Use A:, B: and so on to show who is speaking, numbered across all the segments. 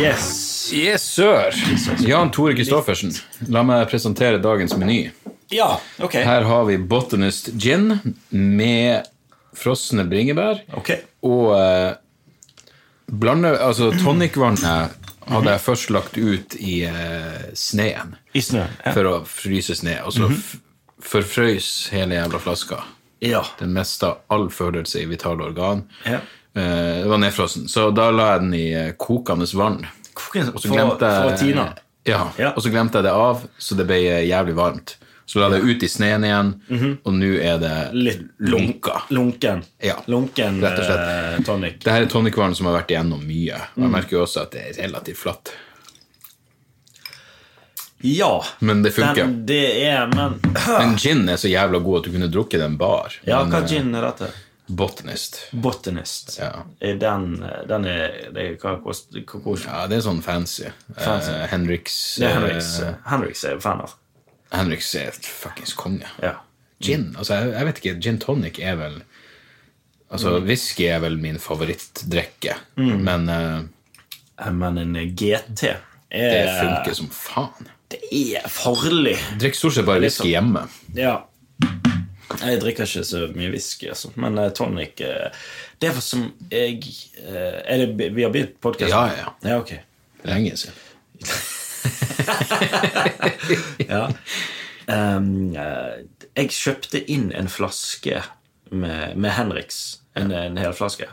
A: Yes.
B: Yes, sir. Jan Tore Christoffersen, la meg presentere dagens meny.
A: Ja, ok.
B: Her har vi Botanist gin med frosne bringebær.
A: Ok.
B: Og eh, blande, altså tonicvannet hadde jeg først lagt ut i eh, sneen.
A: I snøen. Ja. Mhm.
B: For å fryse sne. Og så f- forfrøys hele jævla flaska.
A: Ja.
B: Den meste av all følelse i vitale organ.
A: Ja.
B: Eh, det var nedfrossen. Så da la jeg den i eh, kokende vann.
A: Kokende-
B: Og så
A: for-
B: glemte jeg-
A: for Tina.
B: Ja,
A: Ja.
B: og så glemte jeg det av, så det ble eh, jævlig varmt. Så la jeg det ut i sneen igjen, og nå er det
A: Mhm. Litt
B: lunka.
A: Lunken.
B: Ja.
A: Lunken
B: Rett og slett.
A: eh, tonic.
B: Det her er tonicvann som har vært igjennom mye. Og
A: Mhm.
B: jeg merker jo også at det er relativt flatt.
A: Ja.
B: Men det funker.
A: Den, det er, men
B: Men gin er så jævla god at du kunne drukket den bar.
A: Ah. Ja,
B: Men,
A: hva
B: eh,
A: gin er dette?
B: Botanist.
A: Botanist.
B: Ja.
A: Er Den, eh, den er det er, Hva koster
B: Ja, det er sånn fancy.
A: Fancy.
B: Eh, Henriks
A: Det er Henriks.
B: eh,
A: Henriks er fan av.
B: Henriks er et fuckings konge.
A: Ja.
B: Gin altså jeg, jeg vet ikke, gin tonic er vel Altså,
A: Mm.
B: whisky er vel min favorittdrikke, men eh,
A: Eh, Men en GT er,
B: det
A: det
B: funker som faen.
A: er farlig.
B: Drikker stort sett bare whisky
A: sånn-
B: hjemme.
A: Ja. Jeg drikker ikke så mye whisky, altså. men eh, tonic eh, Det er for som jeg eh, Er det Vi har begynt podkasten?
B: Ja, ja,
A: ja. ok.
B: Lenge siden.
A: Ja. Em, eh, jeg kjøpte inn en flaske med, med Henriks. En, en hel flaske.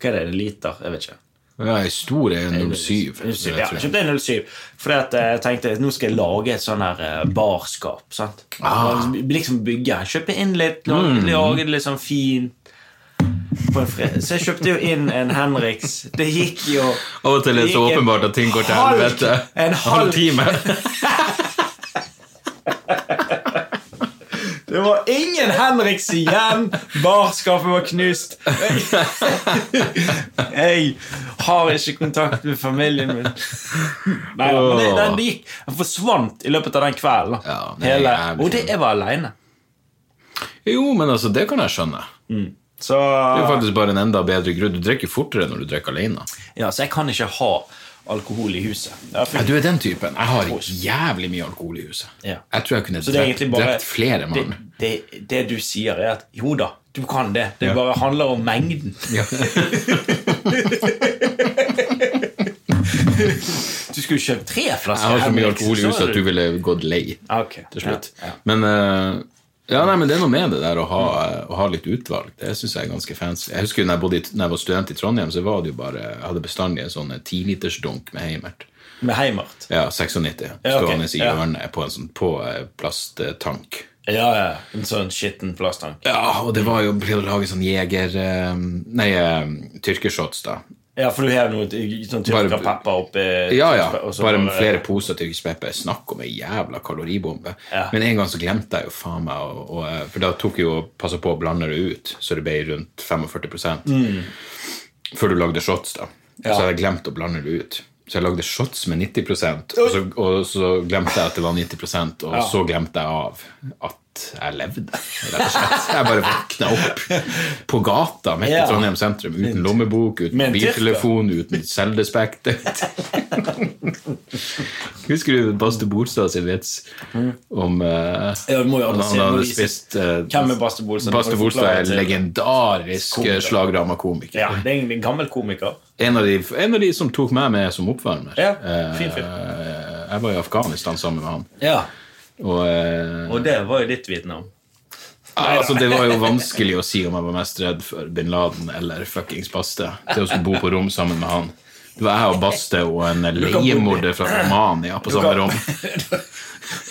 A: Hva er det? En liter? Jeg vet ikke.
B: Ja, ei stor er 07. så
A: Ja,
B: jeg tror-
A: jeg kjøpte en 07 Fordi at eh, jeg tenkte nå skal jeg lage et sånn her eh, barskap. sant? Og Liksom bygge. Kjøpe inn litt, lage, lage det litt sånn fint. På en fre så jeg kjøpte jo inn en Henriks. Det gikk jo
B: Av og til er det så
A: gikk en
B: åpenbart at ting går til
A: halk-
B: helvete.
A: En halv
B: time.
A: Det var ingen Henriks igjen! Barskapet var knust. Jeg har ikke kontakt med familien min. Nei, da, men det, den gikk, den forsvant i løpet av den kvelden. da.
B: Ja, det er
A: Hele,
B: jævlig.
A: og det jeg var aleine.
B: Jo, men altså, det kan jeg skjønne.
A: Så,
B: Det er jo faktisk bare en enda bedre grunn. Du drikker fortere når du drikker alene.
A: ja, så jeg kan ikke ha alkohol i huset. Jeg fikk-
B: Ja, du er den typen. Jeg har jævlig mye alkohol i huset.
A: Ja.
B: Jeg tror jeg kunne
A: Så det er
B: drept,
A: egentlig bare
B: drept flere
A: det,
B: mann.
A: det, det du sier, er at jo da, du kan det. Det
B: Ja.
A: bare handler om mengden.
B: Ja.
A: Du skulle jo kjøpt tre
B: Jeg
A: flasker.
B: har så mye
A: Henriks,
B: alkohol i
A: så
B: huset
A: er
B: at du ville gått lei
A: Ah, ok.
B: til slutt.
A: Ja, ja.
B: Men, eh, ja, nei, men det er noe med det der å ha, eh, å ha litt utvalg. Det syns jeg er ganske fancy. Jeg husker jo når jeg, bodde i, når jeg var student i Trondheim, så var det jo bare, jeg hadde bestandig en sånn tilitersdunk med Heimert.
A: Med Heimart.
B: Ja, 96.
A: Ja, ok.
B: Stående i
A: Ja.
B: hjørnet på en sånn på eh, plasttank.
A: Ja, ja. En sånn skitten plasttank.
B: Ja, og det var jo å lage sånn jeger... eh, Nei, eh, tyrkershots, da.
A: Ja, for du har noe sånn
B: Bare-
A: tyrka pepper oppi
B: Ja, ja.
A: og så
B: Bare med flere poser tyrkisk pepper. Snakk om ei jævla kaloribombe.
A: Ja.
B: Men en gang så glemte jeg jo faen meg å- å, eh, For da tok jeg jo og passa på å blande det ut, så det ble rundt 45
A: Mm.
B: Før du lagde shots, da. Så hadde jeg glemt å blande det ut. Så jeg lagde shots med 90 og så, og så glemte jeg at det var 90 og så glemte jeg av at jeg levde, rett og slett. Jeg bare våkna opp på gata midt i
A: Ja.
B: Trondheim sentrum uten
A: Med
B: lommebok, uten
A: en tyrk, da.
B: biltelefon, uten selvdespekt. Husker du Baste Bolstad sin vits om eh,
A: Mm. Ja, vi må jo
B: han-
A: adressere-
B: Han
A: må
B: hadde
A: vise-
B: spist eh,
A: Hvem er Baste Bolstad? Må
B: Baste
A: du forklare
B: Bolstad er
A: til-
B: legendarisk
A: Komiker.
B: slagdramakomiker.
A: Ja, det er en, en gammel komiker.
B: En, av de- en av de som tok meg med som oppvarmer.
A: Ja, fin fyr.
B: Eh, jeg var i Afghanistan sammen med han.
A: Ja,
B: Og, eh,
A: Og det var jo ditt vitne om.
B: Ja, altså, det var jo vanskelig å si om jeg var mest redd for bin Laden eller fuckings Baste. Det å skulle bo på rom sammen med han. Det var jeg og Baste og en leiemorder fra Romania på samme rom.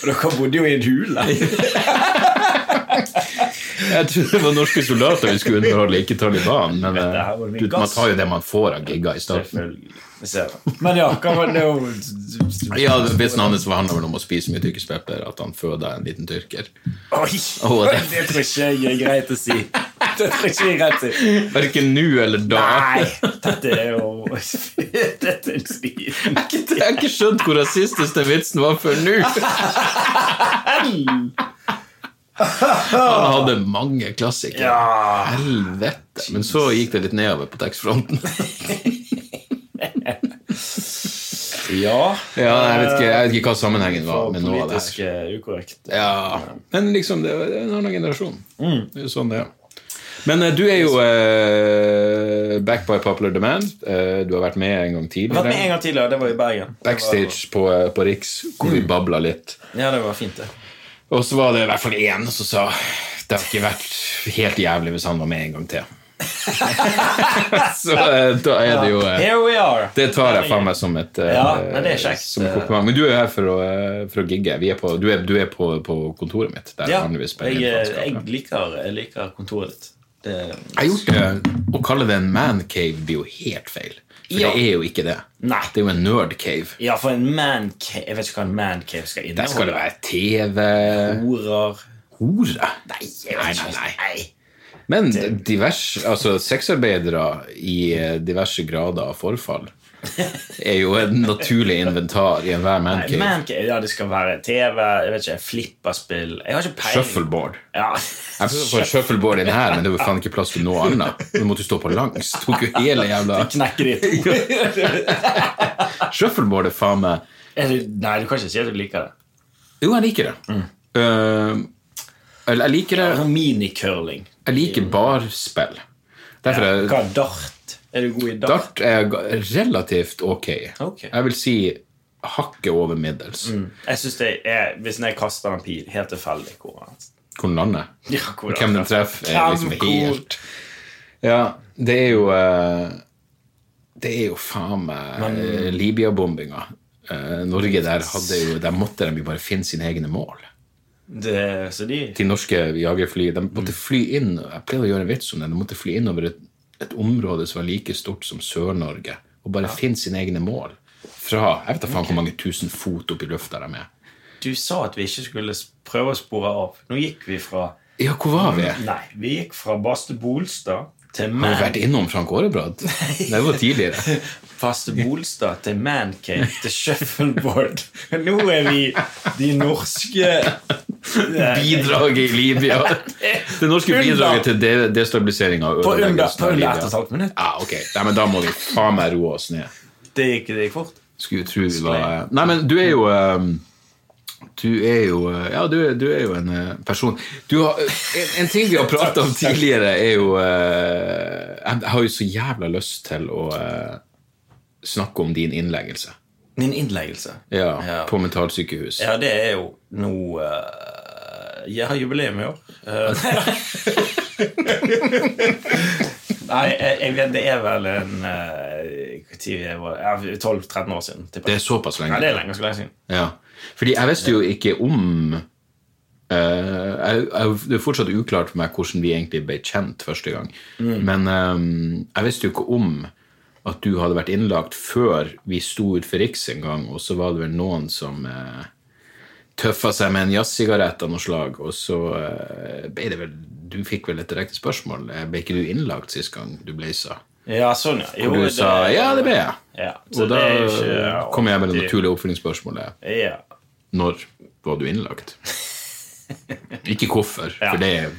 A: Dere bodde jo i en hule.
B: Jeg trodde det var norske soldater vi skulle underholde, ikke Taliban. Men
A: Vet du,
B: eh,
A: her var det mye
B: du, man
A: gass.
B: tar jo det man får av gigga i starten.
A: Selvfølgelig. Jeg ser det. Men ja, hva var det jo
B: Ja, Vitsen hans var han vel om å spise mye tyrkispepper, at han føda en liten tyrker.
A: Oi!
B: Å, det-
A: det tror ikke jeg er greit å si. Det tror ikke jeg er greit å si.
B: Verken nå eller da.
A: Nei! Dette er jo Dette er en svin.
B: Jeg har ikke skjønt hvor rasistisk den vitsen var før nå. Han hadde mange klassikere.
A: Ja.
B: Helvete. Men så gikk det litt nedover på tekstfronten.
A: Ja.
B: Ja, jeg, vet ikke, jeg vet ikke hva sammenhengen var med noe av det
A: Politisk
B: her.
A: eh, ukorrekt.
B: Ja. Men liksom, det er en annen generasjon.
A: Mm.
B: Det er jo sånn det er. Men eh, du er jo eh, back by popular demand. Eh, du har vært med en gang
A: Jeg har vært med en
B: tidligere.
A: gang tidligere. Det var i Bergen.
B: Backstage på, eh, på Riks, hvor
A: Mm.
B: vi babla litt.
A: Ja, det var fint, det.
B: Og så var det i hvert fall én som sa det hadde ikke vært helt jævlig hvis han var med en gang til. så eh, da er det jo eh,
A: Here we are.
B: Det tar jeg faen meg som et eh,
A: Ja, men det er kjekt.
B: Som en kompliment. Men du er jo her for å, eh, for å gigge. Vi er på, du, er, du er på, på kontoret mitt. Der
A: Ja,
B: vanligvis spiller
A: jeg,
B: inn
A: eh,
B: faenskapet.
A: jeg, liker, jeg liker kontoret ditt. Det,
B: Jeg har gjort det. Å kalle det en mancave blir jo helt feil. For
A: Ja.
B: det er jo ikke det.
A: Nei.
B: Det er jo en nerdcave.
A: ja, for en mancave Jeg vet ikke hva en mancave skal inneholde.
B: Der skal det være TV
A: Horer
B: Hore? Nei,
A: Jeg vet ikke.
B: Men divers, altså sexarbeidere i eh, diverse grader av forfall er jo et naturlig inventar i enhver
A: Nei,
B: mancave.
A: mancave, ja, det skal være TV, jeg vet ikke, flipperspill Jeg har ikke peiling.
B: Shuffleboard.
A: Ja.
B: Jeg prøvde å få et shuffleboard inn her, men det var faen ikke plass til noe annet. Du måtte jo stå på langs. Tok jo hele jævla
A: Knekke ditt.
B: Shuffleboard er faen meg
A: Er du- Nei, du kan ikke si at du liker det.
B: Jo, jeg liker det. Eh, eller jeg liker det
A: Sånn Minicurling.
B: Jeg liker barspill. Derfor er
A: Hva er dart? Er du god i dart?
B: Dart er g- relativt ok.
A: Ok.
B: Jeg vil si hakket over middels.
A: Jeg synes det er, Hvis jeg kaster en pil helt tilfeldig hvor han
B: Hvor den lander.
A: Ja, hvor
B: Hvem den treffer, er liksom helt Ja, det er jo eh, Det er jo faen meg eh, Libya-bombinga. Eh, Norge der hadde jo Der måtte de jo bare finne sine egne mål.
A: Det, så de
B: De norske jagerfly De
A: Mm.
B: måtte fly inn Jeg pleide å gjøre en vits om det. De måtte fly innover et, et område som var like stort som Sør-Norge, og bare finne sine egne mål. Fra Jeg vet da faen hvor mange tusen fot opp i lufta de er.
A: Du sa at vi ikke skulle s- prøve å spore av. Nå gikk vi fra
B: Ja, hvor var vi?
A: Nei, vi gikk fra Baste Bolstad til
B: Har vi
A: Man
B: vært innom Frank Aarebrad? Det var tidligere.
A: Baste Bolstad til Mancave til Shuffleboard. Nå er vi de norske
B: Bidraget i Libya. Det norske
A: Under.
B: bidraget til de destabilisering av
A: På under,
B: ødeleggelsen
A: på
B: av
A: under ett og et
B: Libya.
A: halvt minutt.
B: Ja, ok. Nei, men da må vi faen meg roe oss ned.
A: Det gikk, det gikk fort.
B: Skulle tro vi var Nei, men du er jo ehm, Du er jo eh, Ja, du, er- du er jo en eh, person du har, eh, en, en ting vi har prata om tidligere, er jo eh, Jeg har jo så jævla lyst til å eh, snakke om din innleggelse.
A: Min innleggelse.
B: Ja,
A: Ja.
B: På mentalsykehus.
A: Ja, det er jo nå eh, Jeg har jubileum i år. Eh, Nei, jeg, jeg vet det er vel en eh, uh, 12-13 år siden. tipper
B: Det
A: jeg.
B: er sånn. såpass lenge.
A: Ja, det er lenge, ganske lenge siden.
B: Ja. Fordi jeg visste jo ikke om eh, jeg, jeg, Det er fortsatt uklart for meg hvordan vi egentlig ble kjent første gang.
A: Mm.
B: Men eh, jeg visste jo ikke om at du hadde vært innlagt før vi sto ut for Riks en gang, og så var det vel noen som eh, tøffa seg med en jazzsigarett av noe slag, og så eh, ble det vel Du fikk vel et direkte spørsmål. eh, Ble ikke du innlagt sist gang du blaza?
A: Ja, sånn, ja. Jo,
B: Og du sa 'ja, det ble jeg'.
A: Ja, så
B: og da
A: det er ikke, ja,
B: kom jeg med det
A: det-
B: naturlige oppfølgingsspørsmålet.
A: Ja.
B: Når var du innlagt? Ikke hvorfor, for
A: Ja.
B: det er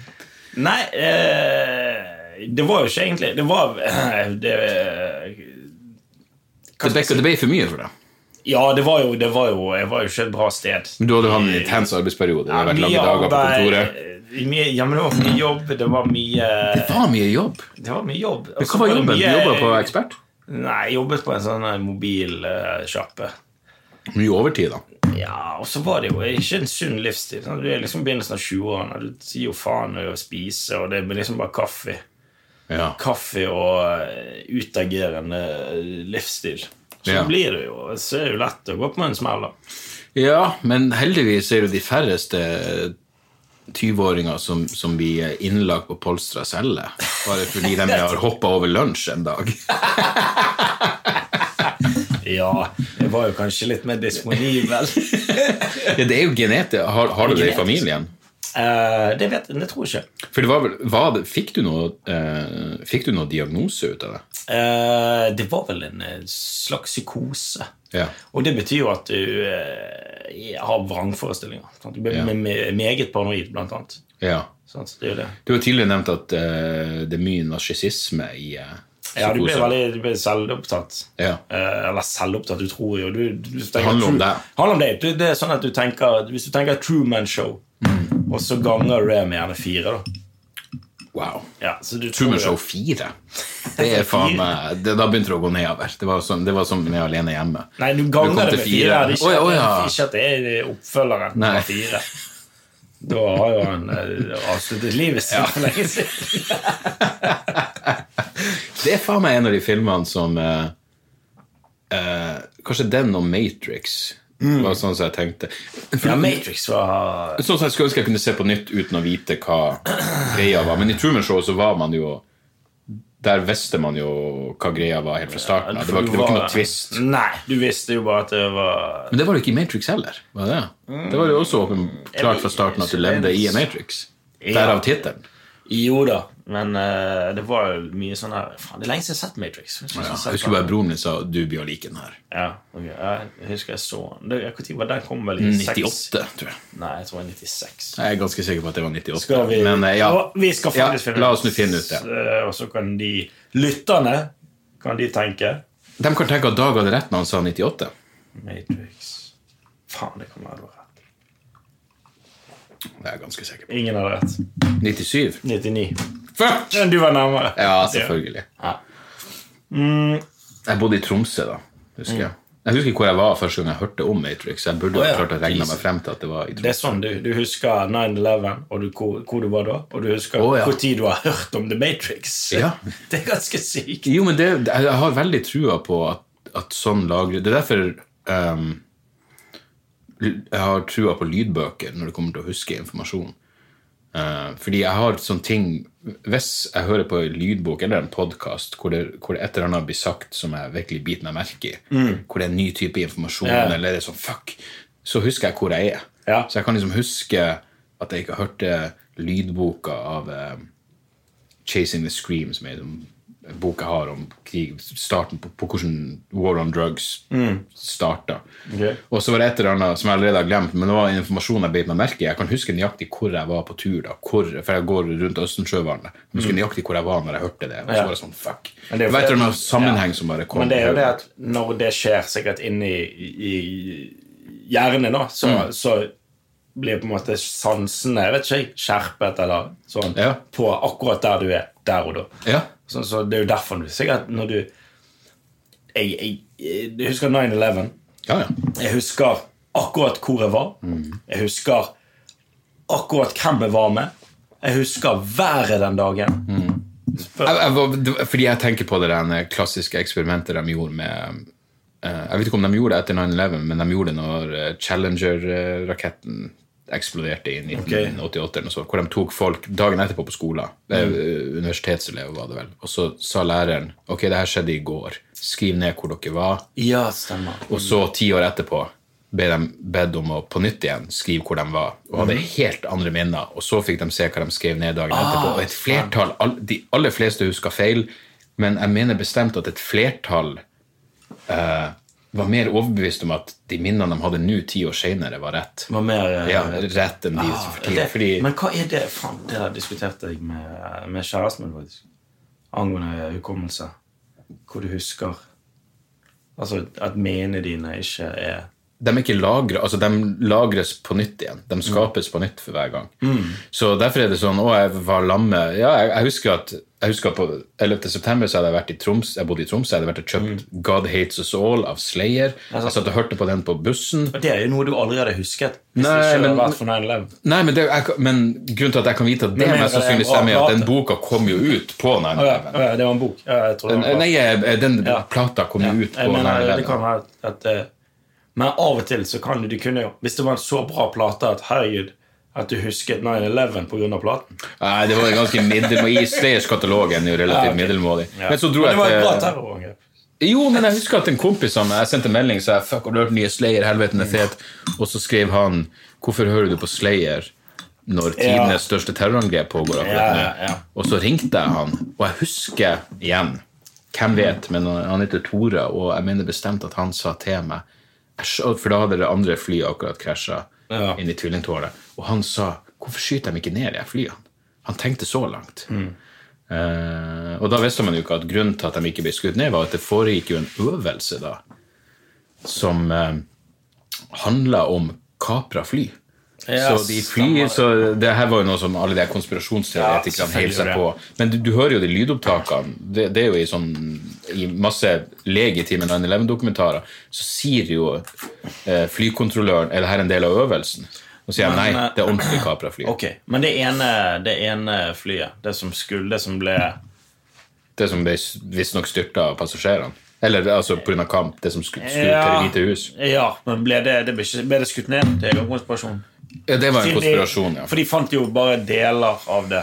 A: Nei, eh, det var jo ikke egentlig Det var det,
B: det ble, det ble for mye for deg.
A: Ja, det var jo, det var jo Jeg var jo ikke et bra sted.
B: Men Du hadde hatt en intens arbeidsperiode. Det hadde vært lange
A: Mye
B: dager på
A: arbeid,
B: kontoret.
A: eh, Mye, ja, men det var mye jobb. Det var mye
B: Det var mye jobb.
A: Det var mye jobb. Altså,
B: Men hva var jobben? Du jobba på Ekspert?
A: eh, Nei, jeg jobbet på en sånn mobilsjappe.
B: Mye overtid, da.
A: Ja, og så var det jo ikke en sunn livsstil. sant? Du er liksom i begynnelsen av 20-årene, og du sier jo faen i å spise, og det blir liksom bare kaffe.
B: Ja.
A: Kaffe og eh, utagerende eh, livsstil. Så
B: Ja.
A: blir det jo Så er det jo lett å gå på en smell, da.
B: ja, men heldigvis er det de færreste 20-åringer som, som blir innlagt på Polstra celle. Bare fordi de har hoppa over lunsj en dag.
A: Ja, jeg var jo kanskje litt mer disponibel.
B: Ja, det er jo genetisk. Har, har du det i
A: Genetisk.
B: familien?
A: Eh, det vet jeg, det tror jeg ikke.
B: For det var vel, var det, fikk, du noe, eh, fikk du noe diagnose ut av det?
A: Eh, det var vel en eh, slags psykose.
B: Ja.
A: Og det betyr jo at du eh, har vrangforestillinger. Sant? Du blir
B: Ja.
A: me- me- meget paranoid, blant annet.
B: ja.
A: Sant? Det er jo det.
B: Du har tidligere nevnt at eh, det er mye narsissisme i eh,
A: Ja, du blir
B: psykose.
A: veldig du blir selvopptatt.
B: Ja.
A: Eh, eller selvopptatt, du tror jo du, du tenker
B: handler om
A: true-
B: deg.
A: handler om deg. Du, det er sånn at du tenker, Hvis du tenker Truman Show,
B: Mm.
A: og så ganger du det med gjerne fire, da.
B: Wow.
A: Ja, så du
B: Truman
A: tror
B: Show
A: jo-
B: 4. Det er faen meg det, Da begynte det å gå nedover. Det var som, det var som med Alene hjemme.
A: Nei, du
B: kom
A: ganger det
B: til
A: med
B: fire.
A: fire. Det er ikke,
B: Å ja, å ja.
A: ikke at det er oppfølgeren
B: Nei.
A: av fire. Da har jo han eh, avsluttet livet sitt for lenge siden.
B: Det er faen meg en av de filmene som eh, eh, Kanskje den og Matrix
A: Mm.
B: var sånn som jeg tenkte.
A: Ja, Matrix var
B: Sånn som jeg skulle ønske jeg kunne se på nytt uten å vite hva greia var. Men i Truman Show så var man jo Der visste man jo hva greia var helt fra starten. av. Det var, det var ikke noe twist.
A: Nei, du visste jo bare at det var
B: Men det var det ikke i Matrix heller. Var det? det var jo også åpenbart fra starten at du levde i en Matrix. Derav tittelen.
A: Jo da, men eh, det var jo mye sånn her Faen, det er lenge siden jeg har sett Matrix. Jeg,
B: Ja, jeg husker bare broren min sa 'du blir å like den her'.
A: ja, ok, jeg husker jeg så den. Det- jeg- Når var den? kom vel i
B: 98,
A: 6?
B: tror jeg.
A: Nei, jeg tror det var 96.
B: Jeg er ganske sikker på at det var 98.
A: Skal vi,
B: Men eh, ja.
A: Å, vi skal
B: ja,
A: faktisk finne
B: La oss nå finne ut det.
A: Eh, Og så kan de lytterne Kan de tenke
B: De kan tenke at Dag hadde rett når han sa 98.
A: Matrix Faen, det kan være du har rett.
B: Det er jeg ganske sikker på.
A: Ingen hadde rett.
B: 97.
A: 99.
B: Fuck!
A: Men du var nærmere.
B: Ja, selvfølgelig.
A: Ja.
B: Jeg bodde i Tromsø, da. husker Jeg Jeg husker ikke hvor jeg var første gang jeg hørte om Matrix. Jeg burde
A: Mm. Å,
B: ha
A: ja.
B: klart å regne meg
A: Jesus.
B: frem til at det var i
A: Det
B: Tromsø.
A: er sånn du, du husker 9-11, og du, hvor, hvor du var da, og du husker
B: Å, ja.
A: hvor tid du har hørt om The Matrix.
B: Ja.
A: Det er ganske sykt.
B: Jo, men det, jeg jeg har veldig trua på at, at sånn lagre Det er derfor ehm, l- jeg har trua på lydbøker når det kommer til å huske informasjon. Eh, fordi jeg har sånne ting Hvis jeg hører på en lydbok eller en podkast hvor, det- hvor et eller annet blir sagt som jeg virkelig biter meg merke i, hvor det er en ny type informasjon,
A: Mm. Ja.
B: eller det er sånn fuck, så husker jeg hvor jeg er.
A: Ja.
B: Så jeg kan liksom huske at jeg ikke hørte lydboka av eh, Chasing the Scream, som er en bok jeg har om krig, starten på, på hvordan War on Drugs starta.
A: Mm. Ok.
B: Og så var det et eller annet som jeg allerede har glemt, men det var informasjon jeg beit meg merke i. Jeg kan huske nøyaktig hvor jeg var på tur, da, hvor, for jeg går rundt Østensjøvannet. Jeg husker nøyaktig hvor jeg var når jeg hørte det. Og så
A: Mm. Ja.
B: var det sånn, fuck.
A: Men det er
B: Det
A: jo
B: var et
A: fordi-
B: eller annet sammenheng
A: Ja.
B: som bare kom.
A: Men det er jo det at når det skjer sikkert inni i, i hjernen, da, så,
B: Mm.
A: så blir på en måte sansene jeg vet ikke, skjerpet eller sånn
B: Ja.
A: på akkurat der du er der og da.
B: Ja.
A: Så, så det er jo derfor du sikkert når du Jeg, jeg, jeg, jeg husker 9-11.
B: Ja, ja.
A: Jeg husker akkurat hvor jeg var.
B: Mm.
A: Jeg husker akkurat hvem jeg var med. Jeg husker været den dagen.
B: Mm. Jeg, jeg var, det var- fordi jeg tenker på det der klassiske eksperimentet de gjorde med eh, Jeg vet ikke om de gjorde det etter 9-11, men de gjorde det når eh, Challenger-raketten eksploderte i 1988, eller noe sånt, hvor de tok folk dagen etterpå på skolen. Eh, Universitetselever var det vel. Og så sa læreren ok, det her skjedde i går. Skriv ned hvor dere var.
A: Ja, stemmer.
B: Og så ti år etterpå ble de bedt om å på nytt igjen skrive hvor de var, og
A: Mm.
B: hadde helt andre minner. Og så fikk de se hva de skrev ned
A: Ah,
B: dagen etterpå. Og et flertall, all, De aller fleste huska feil, men jeg mener bestemt at et flertall eh, var mer overbevist om at de minnene de hadde nå, ti år seinere, var rett.
A: Var mer, eh,
B: ja, rett enn de
A: Ah,
B: for ti
A: det,
B: år. Fordi,
A: Men hva er det Faen, det der diskuterte jeg med, med kjæresten min faktisk. angående eh, hukommelse. Hvor du husker Altså at minnene dine ikke er
B: de er ikke lagra, altså de lagres på nytt igjen. De
A: Mm.
B: skapes på nytt for hver gang. Så derfor er det sånn Å, jeg var lamme Ja, jeg, jeg husker at jeg husker at på 11. september så hadde jeg vært i Troms, jeg bodde i Troms, jeg hadde vært og kjøpt
A: Mm.
B: God Hates Us All av Slayer. Jeg satt og hørte på den på bussen.
A: Og Det er jo noe du aldri hadde husket. Hvis
B: Nei,
A: det ikke hadde
B: men-
A: vært for 9-11.
B: Nei, men, det, jeg, men grunnen til at jeg kan vite at det
A: Men mener
B: mest
A: du det er
B: sannsynlig
A: en bra
B: stemmer, er at
A: plate?
B: den boka kom jo ut på 9-11.
A: Å ja, å ja, det var en bok. Ja, jeg tror det var en
B: Nei,
A: bok.
B: eh, den
A: Ja.
B: plata kom jo ut på
A: Jeg mener, det
B: 9-11.
A: kan være at eh, Men av og til så kan du, du kunne jo Hvis det var en så bra plate at herregud at du husket 9-11 pga. platen.
B: Nei, det var ganske middelmådig. I Slayers katalog er den jo relativt middelmådig. Men så dro
A: Men
B: jeg
A: det var et bra
B: til
A: terrorangrep.
B: Jo, men jeg husker at en kompis av meg Jeg sendte melding så jeg fuck, har du hørt den nye Slayer, helveten er fet. Og så skrev han Hvorfor hører du på Slayer når
A: Ja.
B: tidenes største terrorangrep pågår
A: Ja,
B: akkurat nå?
A: ja, ja.
B: Og så ringte jeg han, og jeg husker igjen Hvem vet, men han heter Tore, og jeg mener bestemt at han sa til meg «Æsj», For da hadde det andre flyet akkurat krasja
A: Ja.
B: inn i tvillingtårnet. Og han sa Hvorfor skyter de ikke ned de her flyene? Han tenkte så langt.
A: Mm.
B: Eh, og da visste man jo ikke at grunnen til at de ikke ble skutt ned, var at det foregikk jo en øvelse da som eh, handla om kapra fly.
A: Ja,
B: så de fly, så det her var jo noe som alle de her konspirasjonsteoretikerne
A: Ja,
B: heiv seg på.
A: selvfølgelig.
B: Men du, du hører jo de lydopptakene. Det, det er jo i, sånn, i masse legitime 9-11-dokumentarer. Så sier jo eh, flykontrolløren Er det her en del av øvelsen? Og sier han nei,
A: Men, eh,
B: det er ordentlig kaprafly.
A: Ok, Men det ene, det ene flyet, det som skulle, det som ble
B: Det som ble s- visstnok styrta av passasjerene. Eller altså pga. kamp, det som sku- skulle
A: Ja.
B: til Det hvite hus.
A: Ja, men ble det, det ble, ikke, ble det skutt ned? Det er jo en konspirasjon.
B: Ja, det var
A: Til
B: en
A: de-
B: konspirasjon, ja.
A: For de fant jo bare deler av det.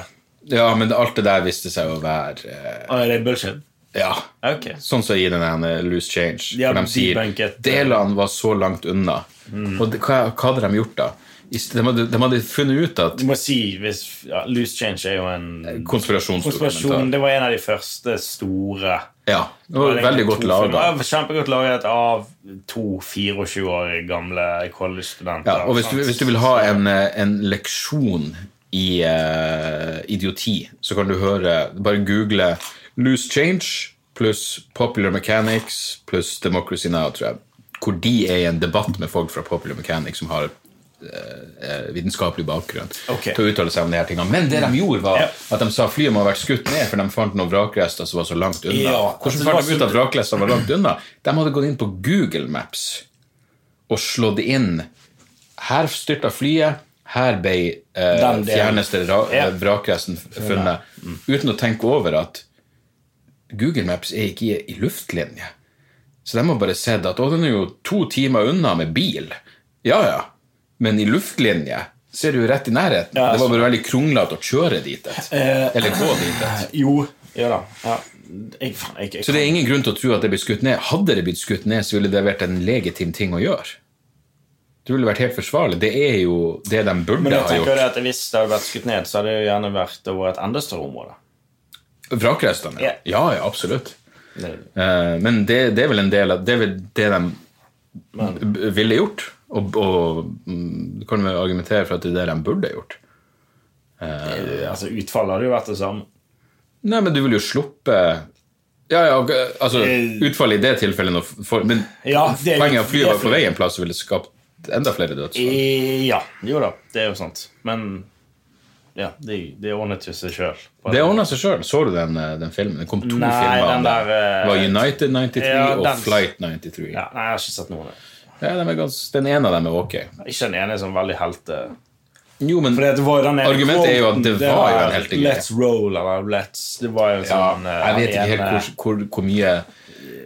B: Ja, Men alt det der viste seg å være eh,
A: Å, er det bullshit?
B: Ja.
A: Ok.
B: Sånn som i den her Loose Change.
A: Ja,
B: hvor de sier
A: debunket.
B: delene var så langt unna.
A: Mm.
B: Og det, hva, hva hadde de gjort da? I sted- De hadde, de hadde funnet ut at
A: Du må si hvis ja, Loose Change er jo en Mm. konspirasjon.
B: konspirasjonsdokumentar
A: Det var en av de første store.
B: Ja, det var veldig godt laga.
A: Det var Kjempegodt laget av to 24 år gamle college-studenter.
B: Ja, og hvis du,
A: sant?
B: hvis du vil ha en, eh, en leksjon i eh, idioti, så kan du høre Bare google 'Loose Change' pluss 'Popular Mechanics' pluss 'Democracy Now', tror jeg. Hvor de er i en debatt med folk fra Popular Mechanics som har eh, vitenskapelig bakgrunn
A: Ok.
B: til å uttale seg om de her tingene. Men det de gjorde, var
A: Ja.
B: at de sa flyet må ha vært skutt ned, for de fant noen vrakrester som var så langt unna.
A: Ja, altså,
B: Hvordan
A: det var
B: fant de ut
A: så-
B: at vrakrestene var langt unna? De hadde gått inn på Google Maps og slått inn her styrta flyet, her ble eh,
A: Den delen.
B: fjerneste ra eh,
A: Ja. Mm.
B: vrakresten f- funnet. Uten å tenke over at Google Maps er ikke i, i luftlinje. Så de har bare sett at å, den er jo to timer unna med bil. Ja, ja. Men i luftlinje ser du jo rett i nærheten.
A: Ja, altså- Eh,
B: det var bare veldig kronglete å kjøre dit. et. Eller gå dit. et.
A: Jo. Ja da. Ja. Jeg, faen, jeg, jeg,
B: Så det er ingen grunn til å tro at det blir skutt ned. Hadde det blitt skutt ned, så ville det vært en legitim ting å gjøre. Det ville vært helt forsvarlig. Det er jo det de
A: men
B: burde
A: jeg
B: ha
A: tenker jo det
B: gjort.
A: at hvis det hadde vært skutt ned, så hadde det jo gjerne vært over et enda større område.
B: Vrakrestene?
A: Ja.
B: Ja. ja, ja, absolutt.
A: Det-
B: Eh, Men det, det er vel en del av Det er vel det de b- ville gjort. Og, og mm, du kan vel argumentere for at det er det de burde gjort.
A: Altså, Utfallet hadde jo vært det samme.
B: Nei, men du vil jo sluppe Ja, ja, ok, altså
A: Eh,
B: Utfallet i det tilfellet når for, Men
A: Ja, det er jo-
B: poenget er at flyet
A: det er
B: var på
A: fly.
B: vei en plass og ville skapt enda flere dødsfall.
A: Eh, Ja. Jo da, det er jo sant. Men ja, det, det ordnet jo seg sjøl.
B: Det ordna seg sjøl. Så du den, eh, den filmen? Det kom to
A: Nei,
B: filmer.
A: den
B: om det.
A: der, eh,
B: det var United 93
A: ja,
B: og
A: den-
B: Flight 93.
A: Ja, nei, jeg har ikke sett noen. av det.
B: Ja, de er gans, den ene av dem er ok.
A: Ikke den ene som veldig helte...
B: Jo, men
A: For det var jo den ene
B: Argumentet er jo at det
A: quoten,
B: var jo en heltegreie.
A: Let's roll, eller let's Det var jo en
B: ja,
A: sånn eh,
B: Jeg vet ikke
A: en,
B: helt hvor,
A: eh,
B: hvor, hvor mye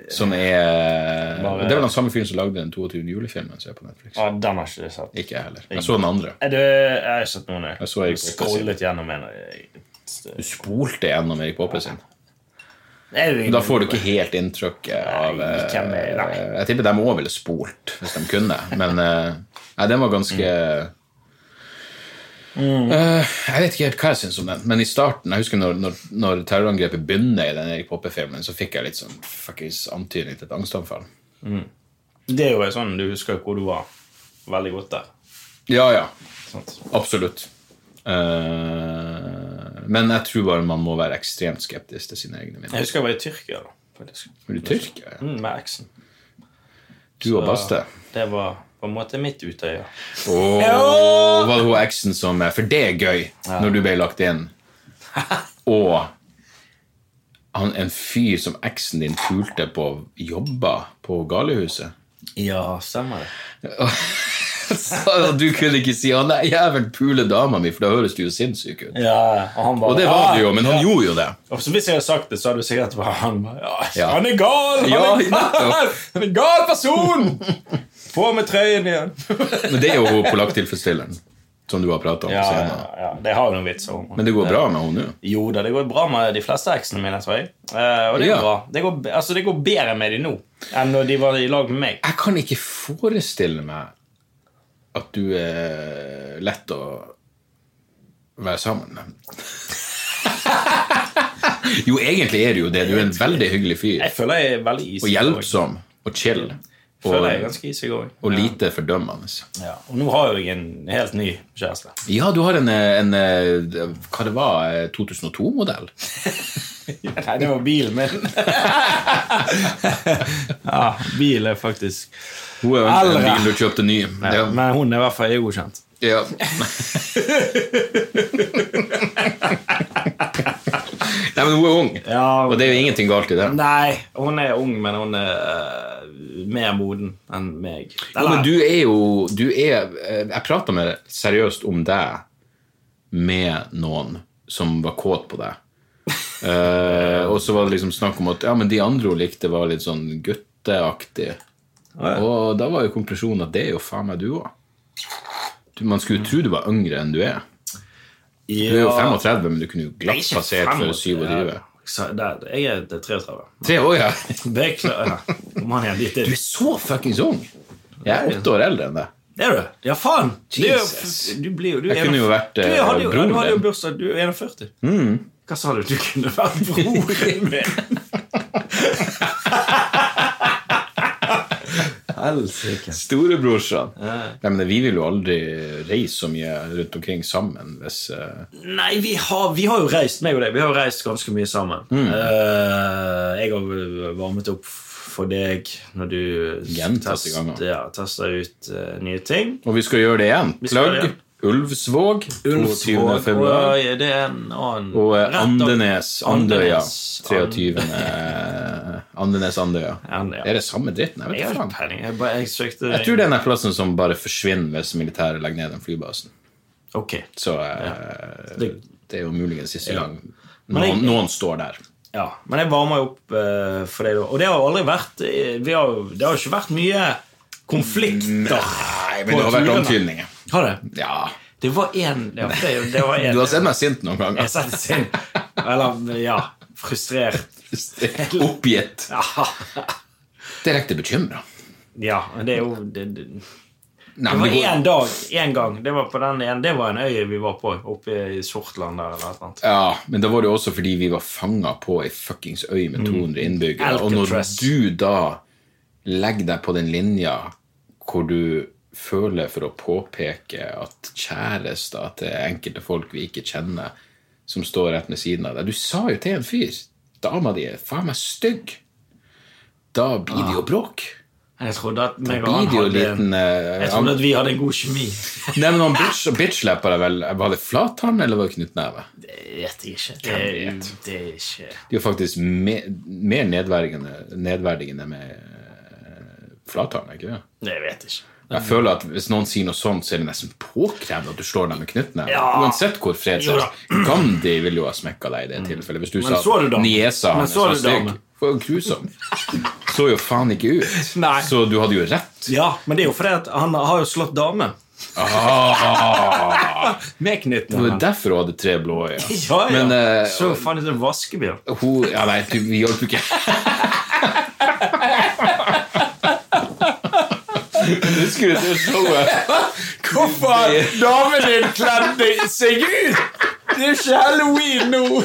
B: som er
A: Bare-
B: Det er vel den samme fyren som lagde den 22. julefilmen som er på Netflix.
A: Ja, eh, den har ikke jeg sett.
B: Ikke jeg heller. Jeg så den andre.
A: Er det, jeg har ikke sett noen.
B: Jeg så Erik Oppe sin.
A: Scrollet gjennom en. jeg-
B: Du spolte gjennom Erik Poppe sin.
A: Er det-
B: Men Da får du ikke helt inntrykket av
A: Nei,
B: eh,
A: hvem er- nei.
B: Jeg tipper de òg ville spolt hvis de kunne, men eh, nei, den var ganske Eh, jeg vet ikke helt hva jeg syns om den, men i starten Jeg husker når, når, når terrorangrepet begynner i den Erik Poppe-filmen, så fikk jeg litt sånn fuckings antydning til et angstanfall.
A: Det er jo sånn du husker hvor du var. Veldig godt der.
B: Ja, ja.
A: Sant?
B: Absolutt. Eh, men jeg tror bare man må være ekstremt skeptisk til sine egne
A: Jeg
B: minner.
A: husker jeg var i Tyrkia, da. faktisk.
B: Er du tyrker?
A: Mm, med eksen.
B: Du og Baste?
A: Det var
C: på en måte mitt utøye.
B: Åh, var det hun eksen som eh, For det er gøy, når du ble lagt inn. Og han, en fyr som eksen din pulte på, jobba på galehuset.
A: Ja, stemmer det.
B: Så du kunne ikke si 'Å nei, jævel, pule dama mi', for da høres du jo sinnssyk ut.
A: Ja, og han bare
B: Og det var
A: «Ah!»
B: du jo, men han gjorde jo det.
A: Og så Hvis jeg hadde sagt det, så hadde du sikkert bare han bare, ja,
B: Ja.
A: Han er gal! Han,
B: Ja,
A: er, gal,
B: nettopp.
A: han er en gal person! På med trøyen igjen!
B: Men det er jo hun polakktilfredsstilleren som du har prata om
A: Ja, ja,
B: senere.
A: ja, det har jo noen vitser om.
B: Men det går bra med henne nå.
A: Jo da, det går bra med de fleste eksene mine, tror jeg. Eh, og det går
B: Ja.
A: bra. Det går, altså, det går bedre med de nå enn når de var i lag med meg.
B: Jeg kan ikke forestille meg at du er lett å være sammen med. jo, egentlig er du jo det. Du er en veldig hyggelig fyr.
A: Jeg føler jeg er veldig isig.
B: Og hjelpsom og chill.
A: Jeg føler jeg er
B: Og,
A: ganske isig òg.
B: og lite fordømmende.
A: Ja. Og nå har jo jeg en helt ny kjæreste.
B: Ja, du har en, eh, en eh, Hva det var? eh, 2002-modell?
A: Nei, det var bilen min. ja, bil er faktisk
B: Hun er jo en-
A: Eldre.
B: en bil du kjøpte ny. Ja.
A: Men hun er i hvert fall EU-godkjent.
B: Ja. Nei, men hun er ung,
A: Ja.
B: og det er jo ingenting galt i det.
A: Nei, hun er ung, men hun er eh, mer moden enn meg.
B: Ja, men du er jo du er, eh, Jeg prata med seriøst om deg med noen som var kåt på deg. Eh, og så var det liksom snakk om at Ja, men de andre hun likte, var litt sånn gutteaktig. Og da var jo konklusjonen at det er jo faen meg du òg. Man skulle jo tro du var yngre enn du er. Du er jo 35, men du kunne jo
A: Jeg er
B: glatt
A: ikke
B: passert for
A: 35.
B: 27.
A: Så der, jeg er 33.
B: Tre år, ja.
A: Det er klart. Kom an igjen, dit
B: Du
A: er
B: er så fuckings ung! Jeg er åtte år eldre enn deg.
A: Er du? Ja, faen! Du er jo-
B: Jesus.
A: Du blir jo du
B: Jeg
A: er
B: kunne
A: en-
B: jo vært,
A: du,
B: eh,
A: hadde jo,
B: broren
A: Du hadde jo
B: din. Mm.
A: bursdag, du er 41. Hva sa du? Du kunne vært broren min! Helsike.
B: Storebrorsan. Nei, men vi vil jo aldri reise så mye rundt omkring sammen hvis eh,
A: Nei, vi har, vi har jo reist, meg og deg, vi har jo reist ganske mye sammen.
B: Mm.
A: Eh, jeg har varmet opp for deg når du
B: Gjentatte ganger.
A: ja, tester ut eh, nye ting.
B: Og vi skal gjøre det igjen.
A: skal gjøre det
B: Plugg.
A: igjen.
B: Ulvsvåg. 22. februar.
A: og, det er en annen
B: Og eh,
A: rett av-
B: Andenes. Andøya.
A: Andenes.
B: 23. Andenes Andøya.
A: Andøya.
B: Er det samme dritten? Jeg
A: Jeg
B: vet
A: har
B: ikke
A: ikke
B: faen.
A: peiling. Jeg, bare, jeg søkte
B: Jeg tror det er den plassen som bare forsvinner hvis militæret legger ned den flybasen.
A: Ok.
B: Så eh,
A: Det-
B: det er jo muligens siste
A: Ja.
B: gang
A: Men jeg-
B: noen, noen står der.
A: Ja, men jeg varmer jo opp eh, for deg da. Og det har jo aldri vært eh, vi har, jo- Det har jo ikke vært mye konflikter.
B: Nei,
A: På
B: men det har vært
A: turene.
B: antydninger.
A: Har det?
B: Ja.
A: Det var én ja, det, er jo- det var en-
B: Du har sett meg sint
A: Jeg
B: noen ganger.
A: setter sinn. Eller, ja Frustrert.
B: Oppgitt.
A: Ja,
B: Direkte bekymra.
A: ja men det er jo det, det.
B: Nei,
A: det
B: men
A: var
B: det går-
A: én dag, én gang. Det var på den ene, det var en øy vi var på oppe i Sortland der. eller noe sånt.
B: Ja, men da var det jo også fordi vi var fanga på ei fuckings øy med 200 innbyggere. Og når
A: Mm. Alcatraz.
B: du da legger deg på den linja hvor du føler for å påpeke at kjærester til enkelte folk vi ikke kjenner, som står rett ved siden av deg Du sa jo til en fyr Dama di er faen meg stygg. Da blir det jo bråk.
A: Jeg trodde at meg og Ah. han
B: Blir det jo
A: hadde
B: liten eh,
A: Jeg trodde at vi hadde en god kjemi.
B: Nei, men han bitch, bitchlappa deg vel Var det flattann eller var det knyttneve?
A: Jeg vet ikke. Det, er- det er ikke
B: De er faktisk me, mer nedverdigende, nedverdigende med eh, flattann, ikke det?
A: Nei, Jeg vet ikke.
B: Jeg føler at Hvis noen sier noe sånt, så er det nesten påkrevd at du slår dem med knyttneve.
A: Ja.
B: Uansett hvor
A: Jo
B: fredsløs.
A: da.
B: Gandhi ville jo ha smekka deg i det tilfellet. Hvis du
A: Men
B: sa
A: så du
B: at
A: damen?
B: niesa
A: Men
B: hans
A: så
B: var
A: du damen?
B: stygg. Det var jo grusom. Så jo faen ikke ut.
A: Nei.
B: Så du hadde jo rett.
A: Ja, Men det er jo fordi at han har jo slått dame. Med
B: Ah, Det var
A: knyttneven.
B: derfor hun hadde tre blå øyne.
A: Ja, ja.
B: Men eh,
A: så faen ut en vaskebil.
B: Hun Ja, nei, du, vi hjalp jo ikke. Husker du det showet?
A: Hvorfor damen din kledde seg ut? Det er ikke halloween nå!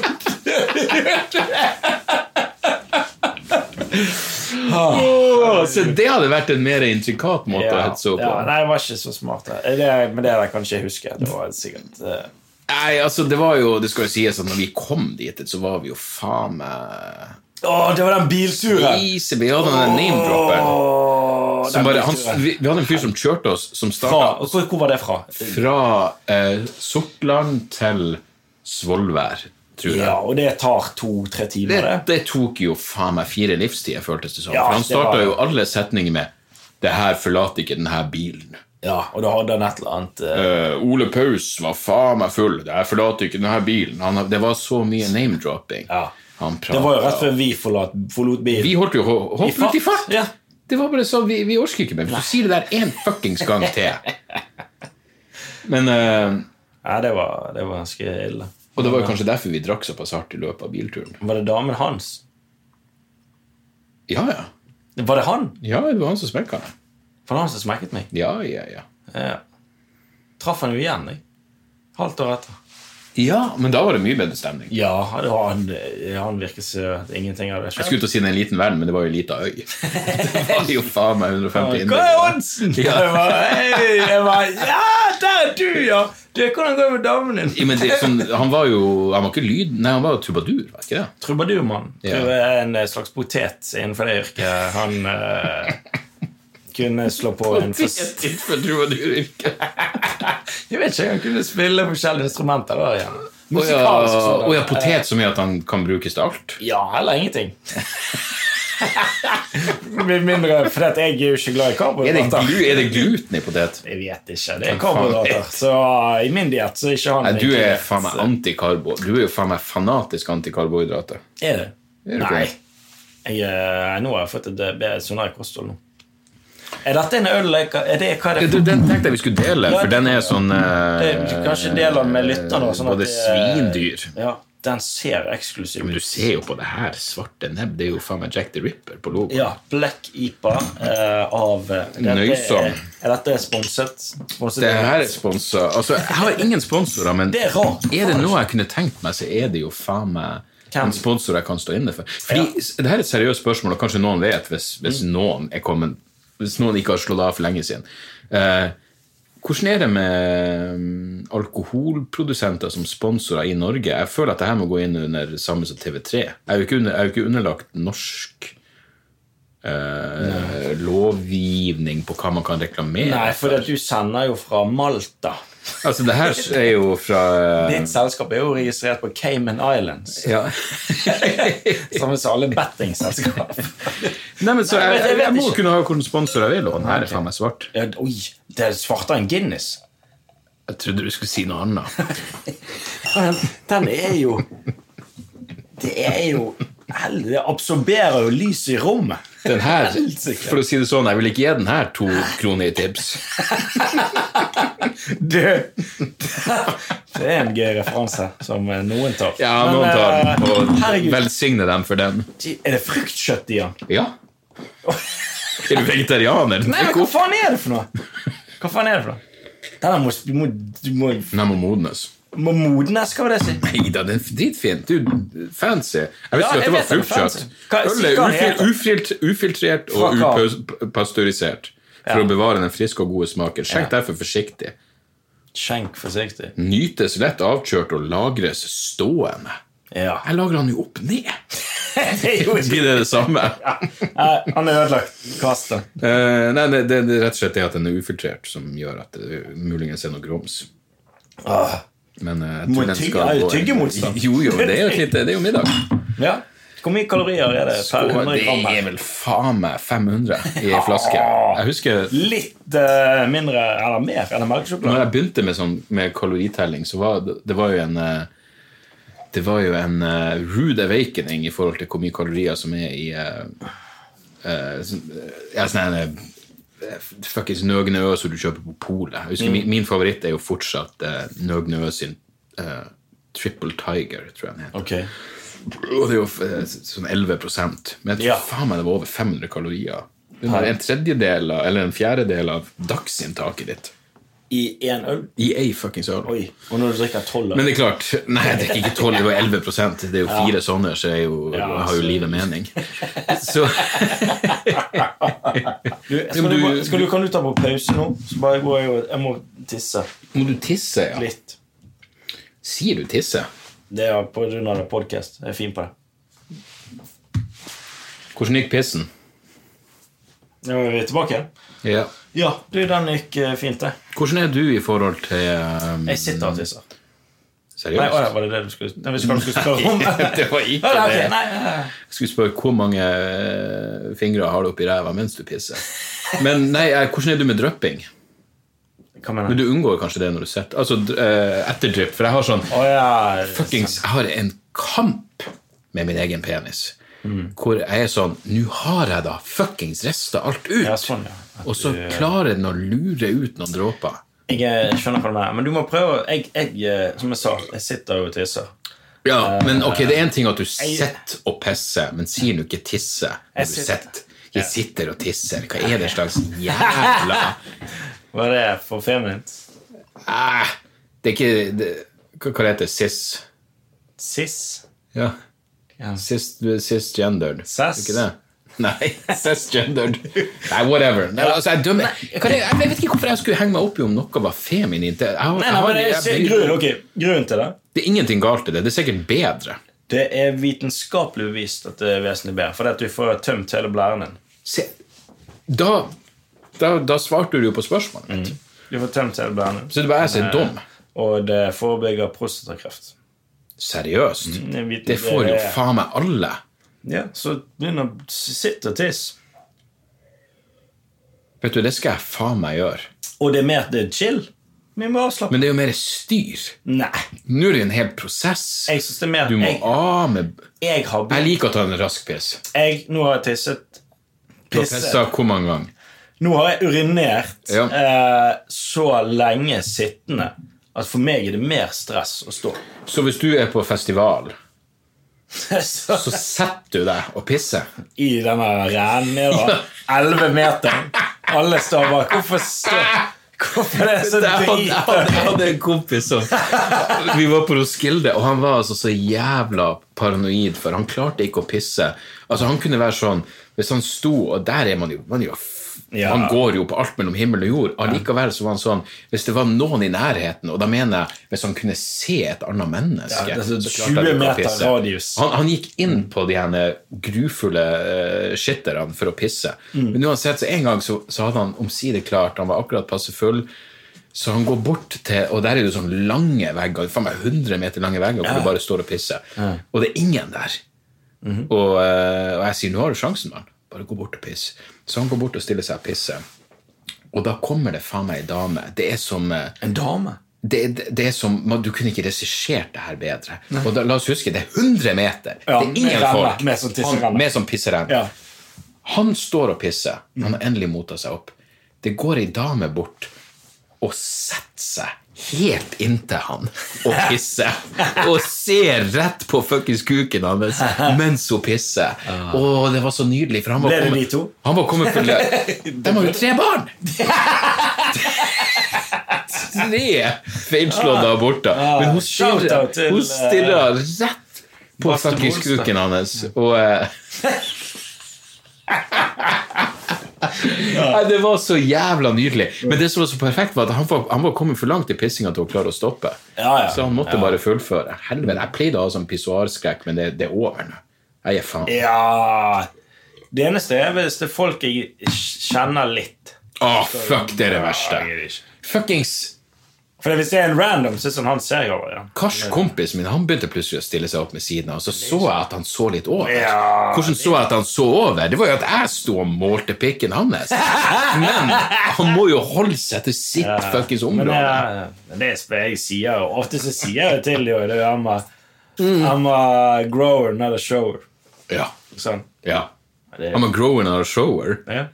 B: Å, så det hadde vært en mer intrikat måte å hetse opp på.
A: ja, nei, jeg var ikke så smart. da. Det, men det der kan ikke jeg huske. Det var sikkert eh,
B: Nei, altså, det var jo Det skal jo sies at når vi kom dit, så var vi jo faen meg
A: Å, det var den bilturen!
B: Easy, vi hadde den name-dropperen.
A: Åh, den
B: Som bare- han-
A: bilturen.
B: Vi vi hadde en fyr som kjørte oss, som
A: Fra-
B: starta
A: Hvor, hvor var det fra?
B: fra eh, Sortland til Svolvær, tror jeg.
A: Ja, og det tar to-tre timer,
B: det,
A: det.
B: det tok jo faen meg fire livstider, føltes det som.
A: Ja,
B: For han
A: det var-
B: starta jo alle setninger med 'Det her forlater ikke denne bilen'.
A: Ja, Og da hadde han et eller annet eh,
B: Eh, Ole Paus var faen meg full. 'Det her forlater ikke denne bilen'. Han, det var så mye name-dropping.
A: Ja.
B: Han
A: Det var jo rett
B: prata
A: før vi forlot, forlot bilen.
B: Vi holdt jo å ho-
A: I
B: hoppe ut i
A: fart,
B: fart!
A: ja.
B: Det var bare sånn, Vi, vi orker ikke mer. Hvis du sier det der én fuckings gang til Men eh,
A: Ja, det var, det var ganske ille.
B: Og det var jo kanskje derfor vi drakk såpass hardt i løpet av bilturen.
A: Var det damen hans?
B: Ja, ja.
A: Var det han?
B: Ja, det var han som smekka.
A: For det var han som smekket meg.
B: Ja, ja, ja.
A: Ja. Traff han jo igjen, jeg. Halvt år etter.
B: Ja, men da var det mye bedre stemning.
A: Ja, det var han, eh, han virker søt. Ingenting av det
B: Jeg skulle
A: skjedd.
B: til å si det er en liten verden, men det var jo en liten øy. Det var jo faen meg
A: Hva
B: 150
A: er
B: innbyggere.
A: oddsen?!
B: Ja.
A: Jeg bare, hei, jeg bare, ja, der er du, ja! Du, hvordan går det med damen din?
B: Ja, men det, er sånn, han var jo Han var ikke lyd... Nei, han var jo trubadur, var ikke det?
A: Trubadurmann.
B: Ja.
A: Tror jeg er en eh, slags potet innenfor det yrket. Han eh, kunne slå på en fors-
B: Innenfor trubaduryrket.
A: Jeg vet ikke, han kunne spille forskjellige instrumenter. da igjen.
B: Å ja,
A: Musikalsk sådan.
B: å ja, potet så mye at han kan brukes til alt.
A: Ja, eller ingenting. Med mindre For at jeg er jo ikke glad i
B: Er det,
A: karbohydrater.
B: glu, er det gluten i potet?
A: Jeg vet ikke. Det er
B: faen
A: karbohydrater.
B: vet?
A: Så i min diett så er ikke han
B: Nei, du
A: egentlig-
B: er faen meg antikarbo. Du er jo faen meg fanatisk antikarbohydrater.
A: Er det?
B: Er du ikke
A: Nei.
B: det?
A: Jeg, eh, nå har jeg fått et eh, bedre sunnere kosthold nå. Er dette en øl jeg kan- Er det hva er det
B: Du, Den tenkte jeg vi skulle dele, for den er sånn eh,
A: Det er kanskje deler med lytterne, sånn at
B: Både
A: det-
B: svindyr
A: Ja, den ser eksklusiv
B: Men du
A: ut.
B: ser jo på det her svarte nebb. Det er jo faen meg Jack the Ripper på logoen.
A: Ja, Black IPA eh, av eh, dette
B: Nøysom.
A: Er, er dette sponset? sponset
B: Det her er sponsa Altså, jeg har ingen sponsorer,
A: Altså,
B: men
A: Det er rart.
B: det noe jeg kunne tenkt meg, så er det jo faen meg
A: Hvem?
B: en sponsor jeg kan stå inne for. Fordi
A: Ja. Mm.
B: s- det her er et seriøst spørsmål, og kanskje noen vet, hvis, hvis noen er kommet Hvis noen ikke har slått av for lenge siden. Eh, hvordan er det med mm, alkoholprodusenter som sponsorer i Norge? Jeg føler at det her må gå inn under samme som TV3. Jeg er jo ikke, under, jeg er jo ikke underlagt norsk eh, lovgivning på hva man kan reklamere
A: Nei, for at du sender jo fra Malta.
B: Altså, det her er jo fra eh,
A: Ditt selskap er jo registrert på Cayman Islands.
B: ja.
A: Sammen med alle bettingselskap.
B: Nei, men så
A: Nei,
B: jeg,
A: jeg vet-
B: jeg,
A: jeg vet
B: må
A: ikke.
B: kunne ha hvilken sponsor jeg vil, og den her er faen meg svart.
A: Ja, Oi, det er svartere enn Guinness.
B: Jeg trodde du skulle si noe annet.
A: Den, den er jo Det er jo hel- Det absorberer jo lyset i rommet.
B: Den her,
A: Helsike.
B: for å si det sånn, jeg vil ikke gi den her to kroner i tips.
A: Du! Det er en gøy referanse som eh, noen tar.
B: Ja, noen tar
A: eh,
B: den, og
A: herregud,
B: velsigne dem for den.
A: er det fruktkjøtt i den?
B: Ja. Er du vegetarianer?
A: Nei, men hva faen er det for noe? Hva faen er det for noe? Den her må, du må, du må,
B: Den må modnes.
A: må modnes, skal vi det si?
B: Nei da, den er dritfin. Du, fancy. Jeg
A: Ja,
B: visste ikke
A: jeg
B: at det
A: vet den
B: var
A: er
B: fruktkjøtt.
A: fancy. Hva-
B: Øl er
A: hva
B: ufil-
A: heter den?
B: ufilt- ufiltrert og
A: Fra hva?
B: upasteurisert for
A: Ja.
B: å bevare den friske og gode smaken. Skjenk derfor forsiktig.
A: Skjenk forsiktig.
B: Nytes lett avkjørt og lagres stående.
A: Ja.
B: Jeg lagrer den jo opp ned.
A: Det er jo
B: Blir det det samme?
A: Nei, han er ødelagt. Kast den.
B: Eh, nei, det, det, det er rett og slett det at den er ufiltrert som gjør at det muligens er noe grums.
A: Ah.
B: Men eh, jeg tror
A: Må
B: den
A: tygge-
B: skal
A: er det
B: gå i-
A: tyggemotstand?
B: Jo, jo, det er jo, fint, det er jo middag.
A: Ja. Hvor mye kalorier er det per
B: Og
A: 100
B: det
A: gram?
B: er vel faen meg 500 i ei flaske. Jeg husker
A: Litt eh, mindre eller mer enn en
B: når
A: melkesjokolade.
B: jeg begynte med, sånn, med kaloritelling, så var det, det var jo en eh, Det var jo en eh, rude awakening i forhold til hvor mye kalorier som er i eh, eh, sånn, eh, ja, sånn en, eh, Fuckings Nøgne Ø som du kjøper på polet. Jeg husker Min, min favoritt er jo fortsatt eh, Nøgne Ø sin eh, Triple Tiger, tror jeg den heter.
A: Ok.
B: Og det er jo eh, sånn 11 Men jeg tror
A: Ja.
B: faen meg det var over 500 kalorier. Det var en tredjedel av- eller en fjerdedel av dagsinntaket ditt
A: I én øl?
B: i ei fuckings øl.
A: Oi. Og når du drikker tolv
B: Men
A: øl?
B: det er klart Nei, det er ikke 12, det var 11 Det er jo fire sånne, så er jo,
A: Ja,
B: har jo
A: altså.
B: livet mening. Så
A: Du, skal, du,
B: du-
A: skal du, kan du ta på pause nå? Så bare går jeg og Jeg må tisse
B: må du tisse, ja.
A: litt.
B: Sier du tisse?
A: Det er på grunn av podcast. Jeg er fin på det.
B: Hvordan gikk pissen?
A: Nå er vi tilbake igjen.
B: Ja.
A: Ja, du, den gikk eh, fint, det.
B: Hvordan er du i forhold til um,
A: Jeg sitter og tisser. Nei, å, ja,
B: Seriøst?
A: var det det du skulle Nei, hvis du skulle spørre om?
B: det var ikke
A: Ja, ok,
B: det.
A: nei, nei, nei.
B: Jeg skulle spørre hvor mange eh, fingre har du oppi ræva mens du pisser. Men nei, eh, hvordan er du med drypping?
A: Hva mener
B: Men
A: du?
B: du unngår kanskje det når du sitter Altså dr- eh, etter drypp, for jeg har sånn
A: Å ja
B: fuckings Jeg har en kamp med min egen penis. Hvor jeg er sånn Nå har jeg da fuckings rista alt ut!
A: Ja, sånn, ja. At
B: Og så
A: du-
B: klarer den å lure ut noen dråper.
A: Jeg eh, skjønner hva du mener, men du må prøve å- jeg, jeg, eh, Som jeg sa, jeg sitter jo og tisser.
B: Ja, men ok, det er en ting at du
A: Eh, jeg-
B: sitter og pisser, men sier du ikke tisse
A: Jeg
B: når du
A: sitter.
B: sitter? Jeg sitter og tisser. Hva er det slags jævla
A: Hva er det for feminint?
B: Æh, Ah, Det er ikke det, Hva hva heter det? Cis?
A: Cis?
B: Ja.
A: Ja.
B: Cis, du er cisgendered.
A: Sass?
B: Ikke det? Nei, cisgendered. Nei, whatever. Nei, altså, jeg, dømmer, kan jeg, jeg vet ikke hvorfor jeg skulle henge meg opp i om noe var feminint. Jeg, har-
A: Nei, nei, men det
B: jeg,
A: er
B: har- jeg,
A: grunnen, ok, grunnen til det
B: det er ingenting galt i det. Det er sikkert bedre.
A: Det er vitenskapelig bevist at det er vesentlig bedre. Fordi at du får tømt hele blæren din.
B: Se, da, da, da svarte du jo på spørsmålet mitt.
A: Du får tømt hele blæren din
B: Så det var jeg som er dum.
A: Og det forebygger prostatakreft.
B: Seriøst?
A: jeg vet
B: Mm. Det
A: ikke,
B: får jo
A: det er-
B: faen meg alle.
A: Ja, så begynn å sitte og tisse.
B: Vet du, Det skal jeg faen meg gjøre.
A: Og det er mer at det er chill. Vi må avslappe.
B: Men det er jo mer styr.
A: Nei.
B: Nå er det en hel prosess.
A: Jeg synes det er mer
B: Du må
A: jeg,
B: av med
A: jeg har
B: Jeg
A: begynt
B: liker å ta en rask piss.
A: jeg, Nå har jeg tisset.
B: Du har pissa hvor mange ganger?
A: Nå har jeg urinert
B: Ja.
A: eh, så lenge sittende at for meg er det mer stress å stå.
B: Så hvis du er på festival,
A: så,
B: så setter du deg og pisser?
A: I denne rænen ned, da. Elleve meter. Alle står bak. Hvorfor stå? Hvorfor er det så
B: Jeg hadde, jeg
A: drit?
B: hadde, jeg hadde en kompis som Vi var på Roskilde, og han var altså så jævla paranoid, for han klarte ikke å pisse. Altså Han kunne være sånn Hvis han sto, og der er man jo Man, er jo, f-
A: Ja.
B: man går jo på alt mellom himmel og jord. Allikevel så var han sånn Hvis det var noen i nærheten, og da mener jeg hvis han kunne se et annet menneske
A: Ja, det er så
B: så klarte
A: 20
B: jeg ikke å
A: meter
B: pisse.
A: radius.
B: Han, han gikk inn på de henne grufulle uh, skitterne for å pisse.
A: Mm.
B: Men uansett, så en gang så, så hadde han omsider klart, han var akkurat passe full, så han går bort til Og der er det jo sånne lange vegger, faen meg 100 meter lange vegger, hvor du bare står og pisser. Og det er ingen der.
A: Mhm.
B: og, eh, og jeg sier 'nå har du sjansen, mann'. Bare gå bort og piss. Så han går bort og stiller seg og pisser. Og da kommer det faen meg ei dame. Det er som eh,
A: En dame?
B: det, det, det er som, man, Du kunne ikke regissert det her bedre. Og da, La oss huske, det er 100 meter!
A: Ja,
B: det er ingen
A: med renne,
B: folk.
A: med sånn tisserenne.
B: Han- med sånn pisserenne.
A: Ja. Mm.
B: Han står og pisser. Han har endelig mota seg opp. Det går ei dame bort og setter seg helt inntil han og pisser. Og ser rett på fuckings kuken hans mens hun pisser. Å, det var så nydelig. For han var
A: Ah. Ble det
B: kommet-
A: de to?
B: Han var kommet for De har jo tre barn! tre feilslåtte aborter. Men hun stirrer,
A: Ah. Shoutout til,
B: hun
A: eh,
B: stirrer rett på
A: Baste
B: fuckings
A: Bolstad.
B: kuken hans. Og eh, Nei, Det var så jævla nydelig. Men
A: Mm.
B: det som var så perfekt, var at han var, han var kommet for langt i pissinga til å klare å stoppe.
A: Ja, ja.
B: Så han måtte bare fullføre. Helvete, Jeg pleide å ha sånn pissoarskrekk, men det, det er over nå. Jeg er faen
A: Ja Det eneste er hvis det er folk jeg kjenner litt.
B: Å, fuck, det er det verste.
A: Jeg gidder ikke.
B: Fuckings
A: For hvis det er en random, så er det sånn han ser jeg over igjen.
B: Kars, kompisen min, han begynte plutselig å stille seg opp med siden av, og så så jeg at han så litt over.
A: Ja,
B: Hvordan så jeg at han så over? Det var jo at jeg sto og målte pikken hans. Men han må jo holde seg til sitt fuckings
A: Men det,
B: område.
A: er- men det er sp- jeg sier jo Ofte så sier jeg jo til dem det er jo, I'm a, I'm a grower, not a shower.
B: Ja.
A: Sånn.
B: ja.
A: Det,
B: I'm a grower and a shower.
A: ja.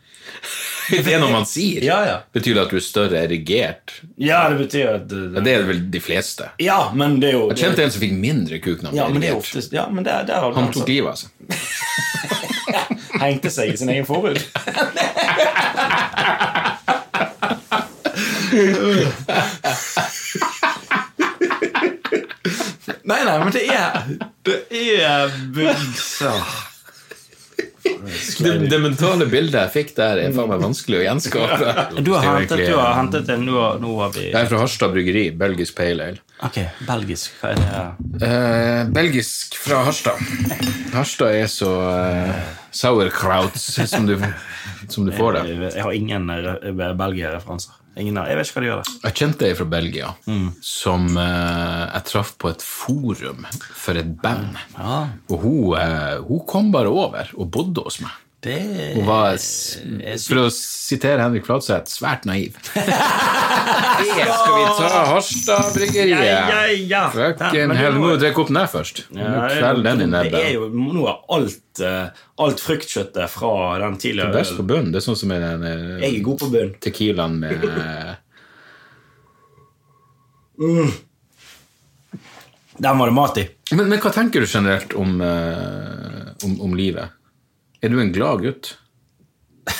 B: Det er noe man sier.
A: Ja, ja.
B: Betyr det at du er større erigert?
A: ja, det betyr jo at
B: Ja, det er vel de fleste.
A: Ja, men det er jo
B: Jeg kjente en som fikk mindre kuk når han
A: Ja,
B: ble
A: men det er
B: erigert.
A: oftest Ja, men der, der har du
B: Han
A: den
B: tok
A: som
B: livet av seg.
A: hengte seg i sin egen forhud. Nei, nei, men det er Det er bygd
B: Det, det mentale bildet jeg fikk der, er faen meg vanskelig å gjenskape.
A: Du har
B: Det er jo
A: hentet,
B: egentlig-
A: du har hentet en, nå, nå har vi
B: Jeg er fra Harstad Bryggeri, belgisk pale ale.
A: Ok, belgisk. Hva er det?
B: Eh, belgisk fra Harstad. Harstad er så eh, sauerkrauts som du, som du får det.
A: Jeg har ingen eh, Belgia-referanser. Ingen av, jeg vet ikke hva de gjør der.
B: Jeg kjente ei fra Belgia som eh, jeg traff på et forum for et band.
A: Ah.
B: Og hun, eh, hun kom bare over og bodde hos meg.
A: Det
B: Hun
A: Eh,
B: var, s- for å sitere Henrik Fladseth, svært naiv. Det skal vi ta Harstad-bryggeriet.
A: Ja, ja, ja. Men
B: Fucking
A: det
B: hell,
A: må-
B: må du drikke opp den her først. Må du kvelde den i
A: det er
B: nebben.
A: jo nå er alt, eh, alt fruktkjøttet fra den tidligere
B: Best på bunnen. Det er sånn som i den eh,
A: Jeg er god på bunn.
B: Tequilaen med eh,
A: Den var det mat i.
B: men, men hva tenker du generelt om, eh, om, om livet? Er du en glad gutt?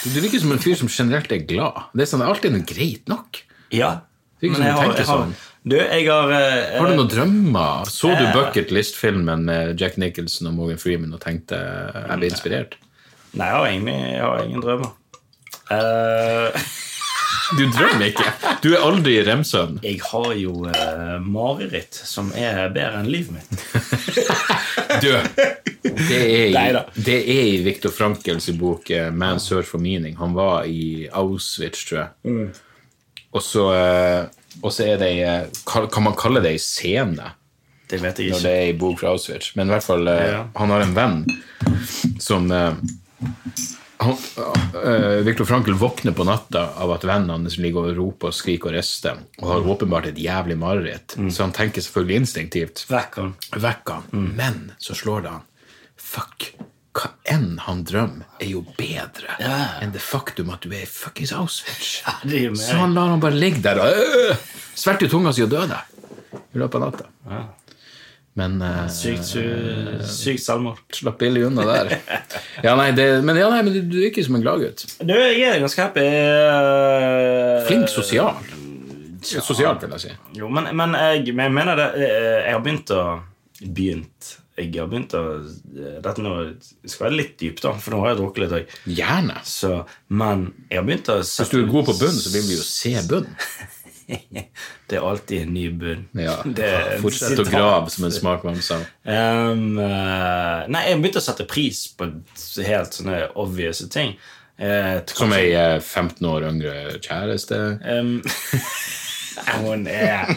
B: Du du virker som en fyr som generelt er glad. Det er sånn, Alt er noe greit nok.
A: Ja.
B: Det er ikke som du tenker sånn.
A: Du, jeg har eh,
B: Har du noen drømmer? Så du Bucket List-filmen med Jack Nicholson og Morgan Freeman og tenkte eh, jeg ble inspirert?
A: Nei, jeg har, egentlig, jeg har ingen drømmer. Eh,
B: Du drømmer ikke! Du er aldri i rem-søvn.
A: jeg har jo eh, mareritt som er bedre enn livet mitt.
B: Du! Det er i,
A: Neida.
B: det er i Viktor Frankels bok eh, 'Man Search for Meaning'. Han var i Auschwitz, tror jeg.
A: Mm.
B: Og så, eh, og så er det ei eh, kall- Kan man kalle det ei scene?
A: Det vet jeg
B: når det
A: ikke.
B: er ei bok fra Auschwitz. Men i hvert fall, eh,
A: Ja.
B: han har en venn som eh, han, eh, Viktor Frankl våkner på natta av at vennen hans ligger og roper og skriker og rister, og har åpenbart et jævlig mareritt. Så han tenker selvfølgelig instinktivt.
A: Mm. Vekk han.
B: Vekk han. Men så slår det han. Fuck. Hva enn han drømmer, er jo bedre
A: Ja.
B: enn det faktum at du er i fuckings Auschwitz.
A: det er jo meg.
B: så han lar han bare ligge der og øh, svelger ut tunga si og dø deg i løpet av natta. Men eh,
A: Sykt, sy- sykt selvmord.
B: slapp billig unna der. Ja, nei, det, men, ja, nei, men du, du virker som en gladgutt.
A: Du, jeg er ganske happy. eh,
B: Flink sosial. Sosialt, vil jeg si.
A: Jo, men, men jeg, men jeg mener det eh, Jeg har begynt å Begynt Jeg har begynt å eh, Dette nå skal være litt dypt, da, for nå har jeg drukket litt òg.
B: Gjerne.
A: Så, men jeg har begynt å
B: Hvis du er god på bunn, så vil vi jo se bunn.
A: Det er alltid en ny bunn.
B: Ja.
A: Det er et
B: Fortsett å
A: sitat.
B: grave, som en smart mann sa.
A: Um, eh, nei, jeg har begynt å sette pris på helt sånne obvious ting. Eh, tross-
B: Som ei eh, 15 år yngre kjæreste.
A: Um, hun er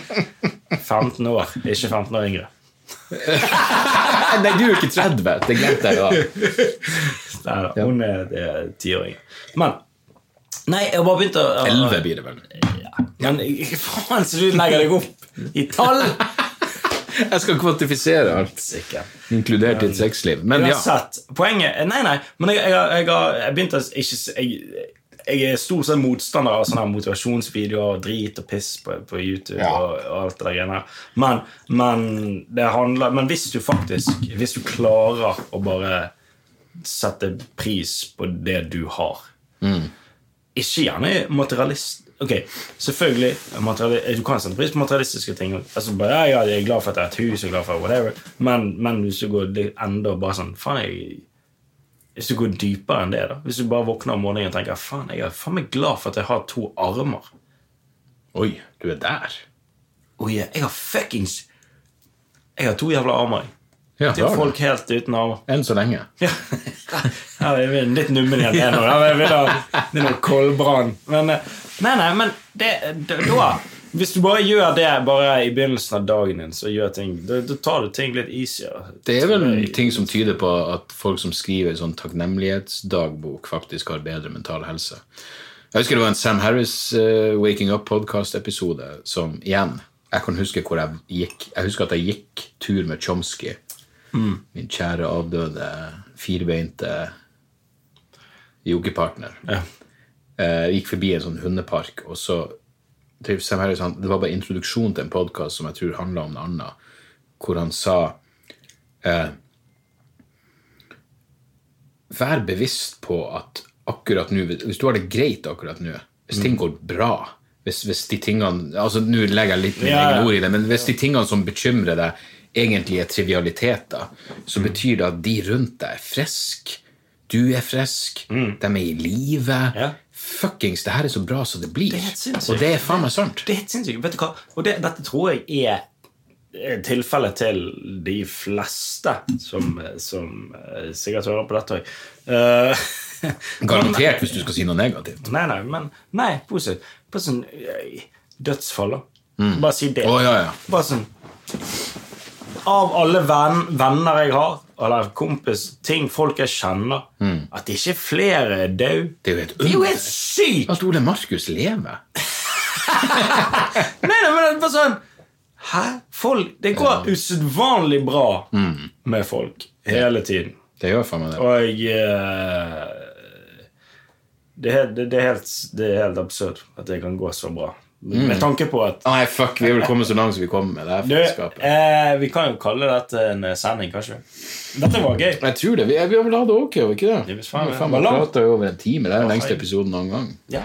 A: 15 år, ikke 15 år yngre.
B: Nei, nei, du er jo ikke 30! Det glemte jeg. da.
A: Nei da, hun er det er ti år yngre. Men Nei, jeg har bare begynt å
B: 11 blir det vel.
A: Men faen, så du legger deg opp i tall!
B: Jeg skal kvantifisere alt, inkludert ditt sexliv. Men ja.
A: Uansett, poenget Nei, nei, men jeg, jeg, har- jeg har jeg begynt å ikke s- jeg, jeg er stor sånn motstander av sånne her motivasjonsvideoer og drit og piss på, på YouTube. Og, og alt det der greiene her. Men, men, det handler, men hvis du faktisk Hvis du klarer å bare sette pris på det du har Ikke gjerne materialist Ok, selvfølgelig materiali- Du kan sette pris på materialistiske ting altså bare, ja, ja, Jeg er glad for at jeg har et hus jeg er glad for whatever Men, men hvis du går litt enda bare sånn Faen, jeg hvis du går dypere enn det da Hvis du bare våkner om morgenen og tenker Faen, jeg er faen meg glad for at jeg har to armer
B: Oi, du er der.
A: Oi, jeg har fuckings Jeg har to jævla armer jeg.
B: Ja,
A: Til
B: da.
A: folk helt uten armer
B: Enn så lenge.
A: Ja, ja jeg er litt nummen igjen her nå. da. Jeg vil ha, det er noe koldbrann. Men, eh, nei, nei, men det, da, da Hvis du bare gjør det bare i begynnelsen av dagen din, så gjør ting, da, da tar du ting litt easier.
B: Det er vel ting som tyder på at folk som skriver sånn takknemlighetsdagbok, faktisk har bedre mental helse. Jeg husker det var en Sam Harris eh, Waking Up podcast-episode som igjen Jeg kan huske hvor jeg gikk. Jeg husker at jeg gikk tur med Chomsky. Min kjære avdøde, firbeinte joggepartner.
A: Ja.
B: Eh, gikk forbi en sånn hundepark, og så til Sam Harris, han, Det var bare introduksjon til en podkast som jeg tror handla om noe annet, hvor han sa eh, Vær bevisst på at akkurat nå Hvis du har det greit akkurat nå, hvis
A: Mm.
B: ting går bra hvis, hvis de tingene, altså Nå legger jeg litt mine
A: Ja, ja.
B: egne ord i det, men hvis de tingene som bekymrer deg, egentlig er trivialiteter, så
A: Mm.
B: betyr det at de rundt deg er friske. Du er frisk, de er i live.
A: Mm. Ja.
B: Fuckings, det her er så bra som det blir.
A: Det er helt sinnssykt.
B: og det er faen meg sant.
A: Det er helt sinnssykt. Vet du hva? Og det, dette tror jeg er er tilfellet til de fleste som, som eh, sikkert hører på dette Eh, òg.
B: Garantert hvis du skal si noe negativt.
A: nei, nei, men nei, positivt. Bare sånn eh, Dødsfall, da. Bare si det.
B: Mm. Å, ja, ja.
A: Bare sånn Av alle venn, venner jeg har, eller kompis, ting folk jeg kjenner At ikke flere er døde,
B: Mm. Det er jo helt
A: det er jo
B: under.
A: helt sykt!
B: At Ole Markus lever.
A: Nei, nei, men det er bare sånn Hæ? Folk, det går usedvanlig bra
B: Mm.
A: med folk hele tiden.
B: Det gjør faen meg det.
A: Og jeg eh, det, er helt- det, det, er helt, det er helt absurd at det kan gå så bra.
B: Mm.
A: Med tanke på at
B: Nei, fuck, vi er vel kommet så langt som vi kommer med det her
A: du,
B: faenskapet.
A: eh, Vi kan jo kalle dette en eh, sending, kanskje. Dette var gøy.
B: Jeg tror det. Vi, vi har vel hatt det ok, har vi ikke
A: Det
B: det?
A: er visst faen meg-
B: Vi
A: Hvor langt?
B: prata jo over en time. Det er den lengste
A: feil.
B: episoden noen gang.
A: Ja.